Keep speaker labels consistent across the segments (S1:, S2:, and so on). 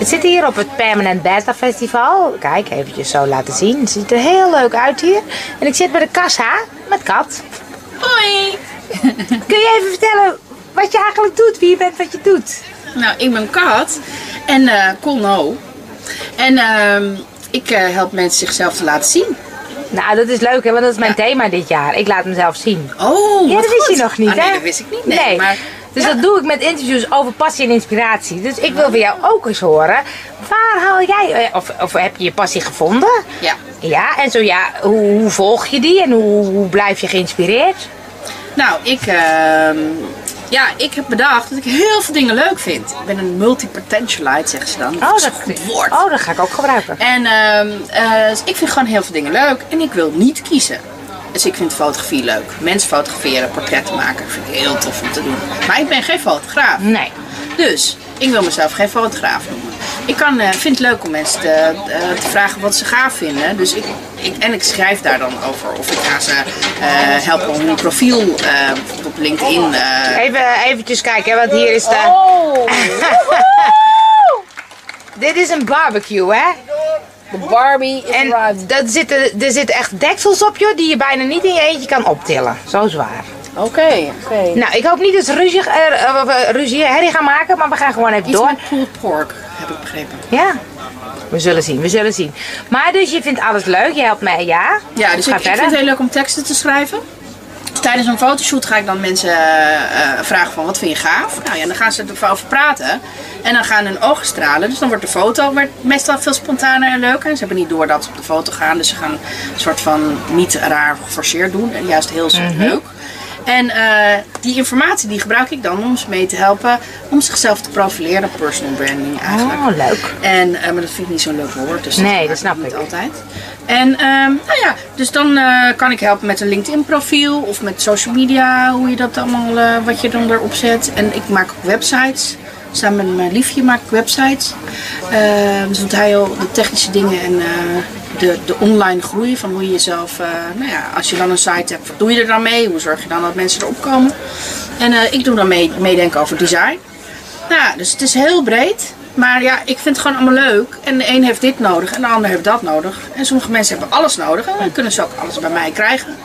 S1: zitten hier op het Permanent Beta Festival. Kijk, eventjes zo laten zien. Het ziet er heel leuk uit hier. En ik zit bij de kassa met Kat.
S2: Hoi!
S1: Kun je even vertellen wat je eigenlijk doet? Wie je bent, wat je doet?
S2: Nou, ik ben Kat en eh Colno. En ehm, ik eh, help mensen zichzelf te laten zien.
S1: Nou, dat is leuk, hè? want dat is mijn thema dit jaar. Ik laat mezelf zien.
S2: Oh,
S1: Ja,
S2: wat
S1: dat wist
S2: goed.
S1: je nog niet,
S2: Ah, nee,
S1: hè?
S2: dat wist ik niet. Nee, maar
S1: dus dat doe ik met interviews over passie en inspiratie. Dus ik wil van jou ook eens horen. Waar haal jij, eh, of, of heb je je passie gevonden?
S2: Ja.
S1: Ja, en zo ja, hoe, hoe volg je die en hoe, hoe blijf je geïnspireerd?
S2: Nou, ik, ehm, ja, ik heb bedacht dat ik heel veel dingen leuk vind. Ik ben een multipotentialite, zeggen ze dan. is een goed woord.
S1: oh, dat ga Oh, ik ook gebruiken.
S2: En ehm, eh, dus ik vind gewoon heel veel dingen leuk en ik wil niet kiezen. Dus ik vind fotografie leuk. Mensen fotograferen, portretten maken, vind ik heel tof om te doen. Maar ik ben geen fotograaf.
S1: Nee.
S2: Dus ik wil mezelf geen fotograaf noemen. Ik kan, eh, vind het leuk om mensen te, eh, te vragen wat ze gaaf vinden. Dus ik, ik, en ik schrijf daar dan over. Of ik ga ze eh, helpen om hun profiel eh, op LinkedIn. eh,
S1: Even eventjes kijken, hè, want hier is de... Oh. Dit is een barbecue, hè?
S3: De Barbie is
S1: En
S3: arrived.
S1: dat zitten, er zitten echt deksels op, joh, die je bijna niet in je eentje kan optillen. Zo zwaar.
S2: Oké.
S3: Oké.
S1: Nou, ik hoop niet dat ze ruzie, er, eh, we ruzie herrie gaan maken, maar we gaan gewoon even
S2: Iets
S1: door.
S2: met pulled pork, heb ik begrepen.
S1: Ja. We zullen zien, we zullen zien. Maar dus je vindt alles leuk, je helpt mij, ja?
S2: Ja, dus
S1: ga
S2: ik, ik vind
S1: verder.
S2: het heel leuk om teksten te schrijven. Tijdens een fotoshoot ga ik dan mensen eh, eh, vragen van wat vind je gaaf? Nou ja, dan gaan ze erover praten. En dan gaan hun ogen stralen. Dus dan wordt de foto werd meestal veel spontaner en leuker. En ze hebben niet door dat ze op de foto gaan. Dus ze gaan een soort van niet raar geforceerd doen. En juist heel
S1: Mhm.
S2: leuk. En eh, die informatie die gebruik ik dan om ze mee te helpen om zichzelf te profileren. Personal branding eigenlijk.
S1: Oh, leuk.
S2: En, eh, maar dat vind ik niet zo'n leuk woord. Dus
S1: Nee,
S2: maakt
S1: dat snap
S2: niet
S1: ik.
S2: altijd. En ehm, nou ja, dus dan eh, kan ik helpen met een LinkedIn profiel of met social media, hoe je dat allemaal, eh, wat je dan erop zet. En ik maak ook websites. Samen met mijn liefje maak ik websites. Ehm, dus doet hij al de technische dingen en eh, de, de online groei van hoe je jezelf, eh, nou ja, als je dan een site hebt, wat doe je er dan mee? Hoe zorg je dan dat mensen erop komen? En eh, ik doe dan mee, meedenken over design. Nou, ja, dus het is heel breed. Maar ja, ik vind het gewoon allemaal leuk. En de een heeft dit nodig en de ander heeft dat nodig. En sommige mensen hebben alles nodig. En dan kunnen ze ook alles bij mij krijgen.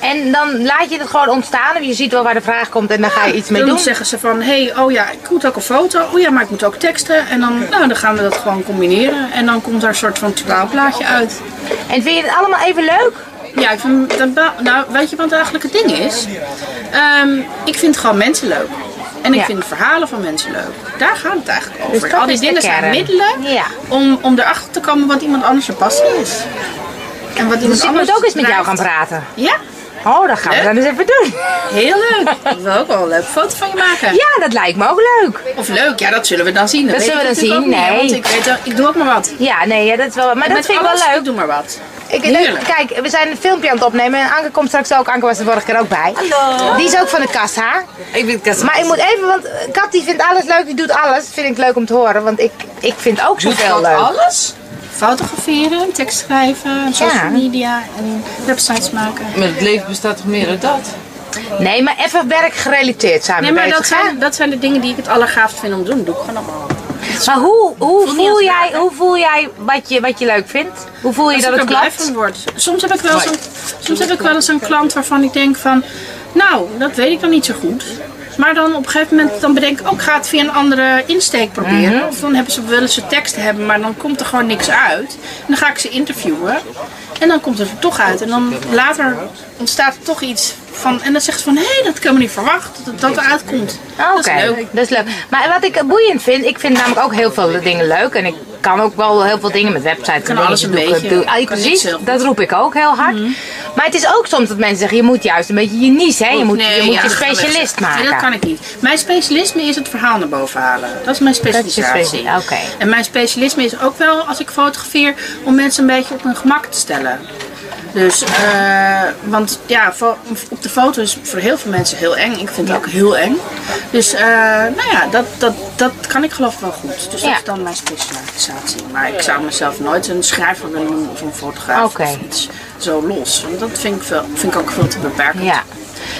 S1: En dan laat je het gewoon ontstaan, of je ziet wel waar de vraag komt en dan ga je iets mee
S2: dan
S1: doen.
S2: zeggen ze van, hé, hey, oh ja, ik moet ook een foto. Oh ja, maar ik moet ook teksten. En dan, nou, dan gaan we dat gewoon combineren. En dan komt daar een soort van totaalplaatje uit.
S1: En vind je het allemaal even leuk?
S2: Ja, ik vind, dat wel- nou, weet je wat eigenlijk het ding is? Ehm, ik vind gewoon mensen leuk. En ik
S1: Ja. Dus
S2: vind verhalen van mensen leuk. Daar gaat het eigenlijk over.
S1: dat
S2: Al die
S1: is de
S2: dingen zijn
S1: kern.
S2: middelen
S1: Ja.
S2: om, om erachter te komen wat iemand anders zijn passie is. En wat iemand
S1: Dus ik
S2: anders
S1: moet ook eens met jou gaan
S2: drijft.
S1: praten.
S2: Ja,
S1: Oh, dat gaan we
S2: Leuk.
S1: dan eens even doen.
S2: heel leuk. ik wil ook wel een leuke foto van je maken.
S1: Ja, dat lijkt me ook leuk.
S2: Of leuk, ja, dat zullen we dan zien. Dat,
S1: zullen we dan
S2: natuurlijk
S1: zien,
S2: ook niet, hè,
S1: nee.
S2: want ik, weet, wel- ik doe ook maar wat.
S1: Ja, nee, ja, dat is wel. Maar dat
S2: Met
S1: vind ik wel
S2: alles,
S1: leuk.
S2: Ik doe maar wat.
S1: Ik,
S2: Heerlijk.
S1: kijk, we zijn een filmpje aan het opnemen en Anke komt straks ook. Anke was er vorige keer ook bij.
S3: Hallo.
S1: Die is ook van de kassa.
S3: Ik vind Kassa.
S1: Maar ik moet even, want eh, Kat die vindt alles leuk, die doet alles. Vind ik leuk om te horen, want ik, ik vind ook zoveel
S2: Doet
S1: leuk.
S2: alles? Fotograferen, tekst schrijven, social media en websites maken.
S3: Maar het leven bestaat toch meer uit dat?
S1: Nee, maar even werkgerelateerd zijn we
S2: Nee, maar dat
S1: bezig, hè?
S2: zijn, dat zijn de dingen die ik het allergaafst vind om te doen. Doe ik gewoon allemaal.
S1: Maar hoe, hoe,
S2: niet
S1: voel
S2: als
S1: jij, hoe voel jij wat je, wat je leuk vindt? Hoe voel je
S2: Als
S1: dat
S2: ik
S1: het
S2: er blij
S1: klopt?
S2: van word. Soms heb ik wel eens een, soms heb ik wel eens een klant waarvan ik denk van, nou, dat weet ik dan niet zo goed. Maar dan op een gegeven moment dan bedenk ik, ook ga het via een andere insteek proberen.
S1: Mhm.
S2: Of dan hebben ze, willen ze teksten hebben, maar dan komt er gewoon niks uit. En dan ga ik ze interviewen. En dan komt het er toch uit. En dan later ontstaat er toch iets van. En dan zegt ze van, hé, dat kan me niet verwacht. Dat dat eruit komt.
S1: Ah, Oké,
S2: Dat is leuk.
S1: dat is leuk. Maar wat ik boeiend vind, ik vind namelijk ook heel veel dingen leuk. En ik kan ook wel heel veel dingen met websites. en
S2: alles
S1: dingen
S2: een
S1: doe ik-
S2: beetje.
S1: doe- ah,
S2: Kan Mhm. niks
S1: precies,
S2: heel goed.
S1: dat roep ik ook heel hard. Maar het is ook soms dat mensen zeggen, je moet juist een beetje je niche, hè? Je moet je,
S2: Nee,
S1: moet
S2: ja,
S1: je
S2: dat kan best.
S1: specialist
S2: Nee,
S1: maken.
S2: dat kan ik niet. Mijn specialisme is het verhaal naar boven halen. Dat is mijn specialisatie.
S1: speciali- oké.
S2: En mijn specialisme is ook wel, als ik fotografeer, om mensen een beetje op hun gemak te stellen. Dus, eh, want ja, fo- op de foto is voor heel veel mensen heel eng. Ik vind het ook heel eng. Dus, eh, nou ja, dat, dat, dat kan ik geloof ik wel goed. Dus
S1: Ja.
S2: dat is dan mijn specialisatie. Maar ik zou mezelf nooit een schrijver willen noemen of een fotograaf
S1: Oké.
S2: of iets zo los. Want dat vind ik, veel, vind ik ook veel te beperkend.
S1: Ja.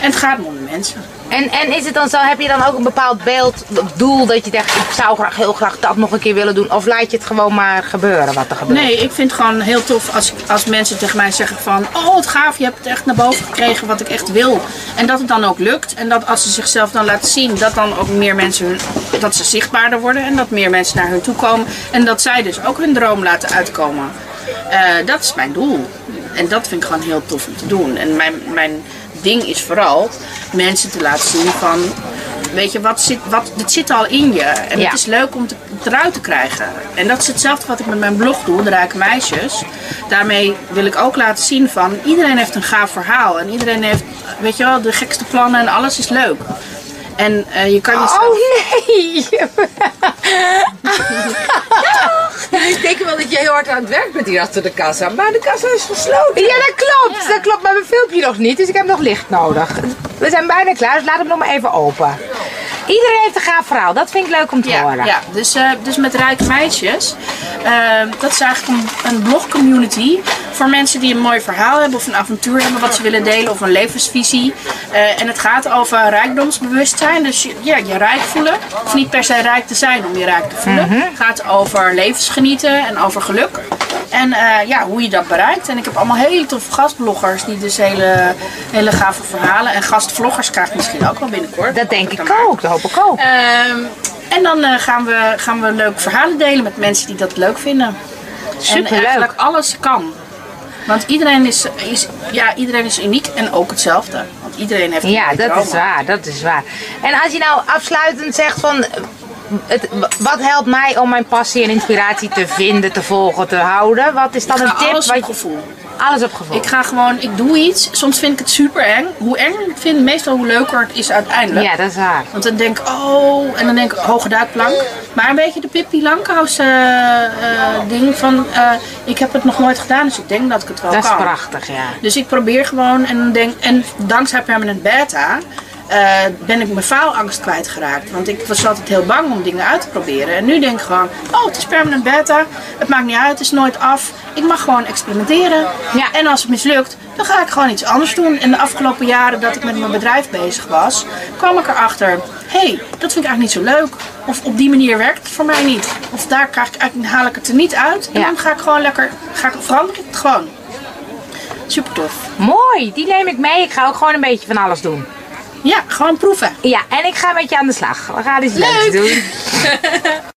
S2: En het gaat om de mensen.
S1: En, en is het dan zo, heb je dan ook een bepaald beeld, doel dat je denkt, ik zou graag heel graag dat nog een keer willen doen? Of laat je het gewoon maar gebeuren wat er gebeurt?
S2: Nee, ik vind het gewoon heel tof als, ik- als mensen tegen mij zeggen van... Oh, wat gaaf, je hebt het echt naar boven gekregen wat ik echt wil. En dat het dan ook lukt. En dat als ze zichzelf dan laten zien, dat dan ook meer mensen... Hun, dat ze zichtbaarder worden en dat meer mensen naar hun toe komen. En dat zij dus ook hun droom laten uitkomen. Eh, dat is mijn doel. En dat vind ik gewoon heel tof om te doen. En mijn, mijn ding is vooral mensen te laten zien van... Weet je, wat zit, wat, het zit al in je. En
S1: Ja.
S2: het is leuk om te, het eruit te krijgen. En dat is hetzelfde wat ik met mijn blog doe, De Rijke Meisjes. Daarmee wil ik ook laten zien van iedereen heeft een gaaf verhaal. En iedereen heeft, weet je wel, de gekste plannen en alles is leuk. En eh, je kan niet
S1: Oh nee!
S3: Ik denk wel dat jij heel hard aan het werk bent hier achter de kassa. Maar de kassa is gesloten.
S1: Ja, dat klopt. Dat klopt, maar mijn filmpje nog niet, dus ik heb nog licht nodig. We zijn bijna klaar, dus laat hem nog maar even open. Iedereen heeft een gaaf verhaal, dat vind ik leuk om te
S2: Ja,
S1: horen.
S2: ja. Dus, eh, dus met Rijke Meisjes. eh, dat is eigenlijk een, een blogcommunity voor mensen die een mooi verhaal hebben of een avontuur hebben wat ze willen delen of een levensvisie. Eh, en het gaat over rijkdomsbewustzijn. Dus je, ja, je rijk voelen. Of niet per se rijk te zijn om je rijk te voelen.
S1: Mhm.
S2: Het gaat over levensgenieten en over geluk. En eh, ja, hoe je dat bereikt. En ik heb allemaal hele toffe gastbloggers die dus hele, hele gave verhalen. En gastvloggers krijg ik misschien ook wel binnenkort.
S1: Dat denk
S2: Kan
S1: ik
S2: maar.
S1: ook, dat hoop ik ook.
S2: Ehm, en dan eh, gaan, we, gaan we leuke verhalen delen met mensen die dat leuk vinden. En
S1: Superleuk.
S2: eigenlijk alles kan. Want iedereen is, is, ja, iedereen is uniek en ook hetzelfde. Want iedereen heeft
S1: Ja,
S2: een
S1: dat
S2: trauma.
S1: is waar, dat is waar. En als je nou afsluitend zegt van, eh, het, wat helpt mij om mijn passie en inspiratie te vinden, te volgen, te houden? Wat is dan
S2: Ik
S1: een
S2: ga
S1: tip?
S2: alles
S1: wat
S2: op
S1: je-
S2: gevoel.
S1: Alles op gevoel.
S2: Ik ga gewoon, ik doe iets. Soms vind ik het super eng. Hoe enger ik het vind, meestal hoe leuker het is uiteindelijk.
S1: Ja, dat is waar.
S2: Want dan denk ik, oh, en dan denk ik, hoge duikplank. Maar een beetje de Pippi Lankhuis eh, eh, ding van, eh, ik heb het nog nooit gedaan, dus ik denk dat ik het wel
S1: Dat is
S2: kan.
S1: prachtig, ja.
S2: Dus ik probeer gewoon en, denk, en dankzij Permanent Beta eh, ben ik mijn faalangst kwijtgeraakt. Want ik was altijd heel bang om dingen uit te proberen. En nu denk ik gewoon, oh het is Permanent Beta, het maakt niet uit, het is nooit af. Ik mag gewoon experimenteren.
S1: Ja.
S2: En als het mislukt, dan ga ik gewoon iets anders doen. En de afgelopen jaren dat ik met mijn bedrijf bezig was, kwam ik erachter, hé, hey, dat vind ik eigenlijk niet zo leuk. Of op die manier werkt het voor mij niet. Of daar krijg ik, eigenlijk- haal ik het er niet uit. En
S1: Ja.
S2: dan ga ik gewoon lekker, ga ik, verander ik het gewoon. Super tof.
S1: Mooi, die neem ik mee. Ik ga ook gewoon een beetje van alles doen.
S2: Ja, gewoon proeven.
S1: Ja, en ik ga met je aan de slag. We gaan iets leuks doen.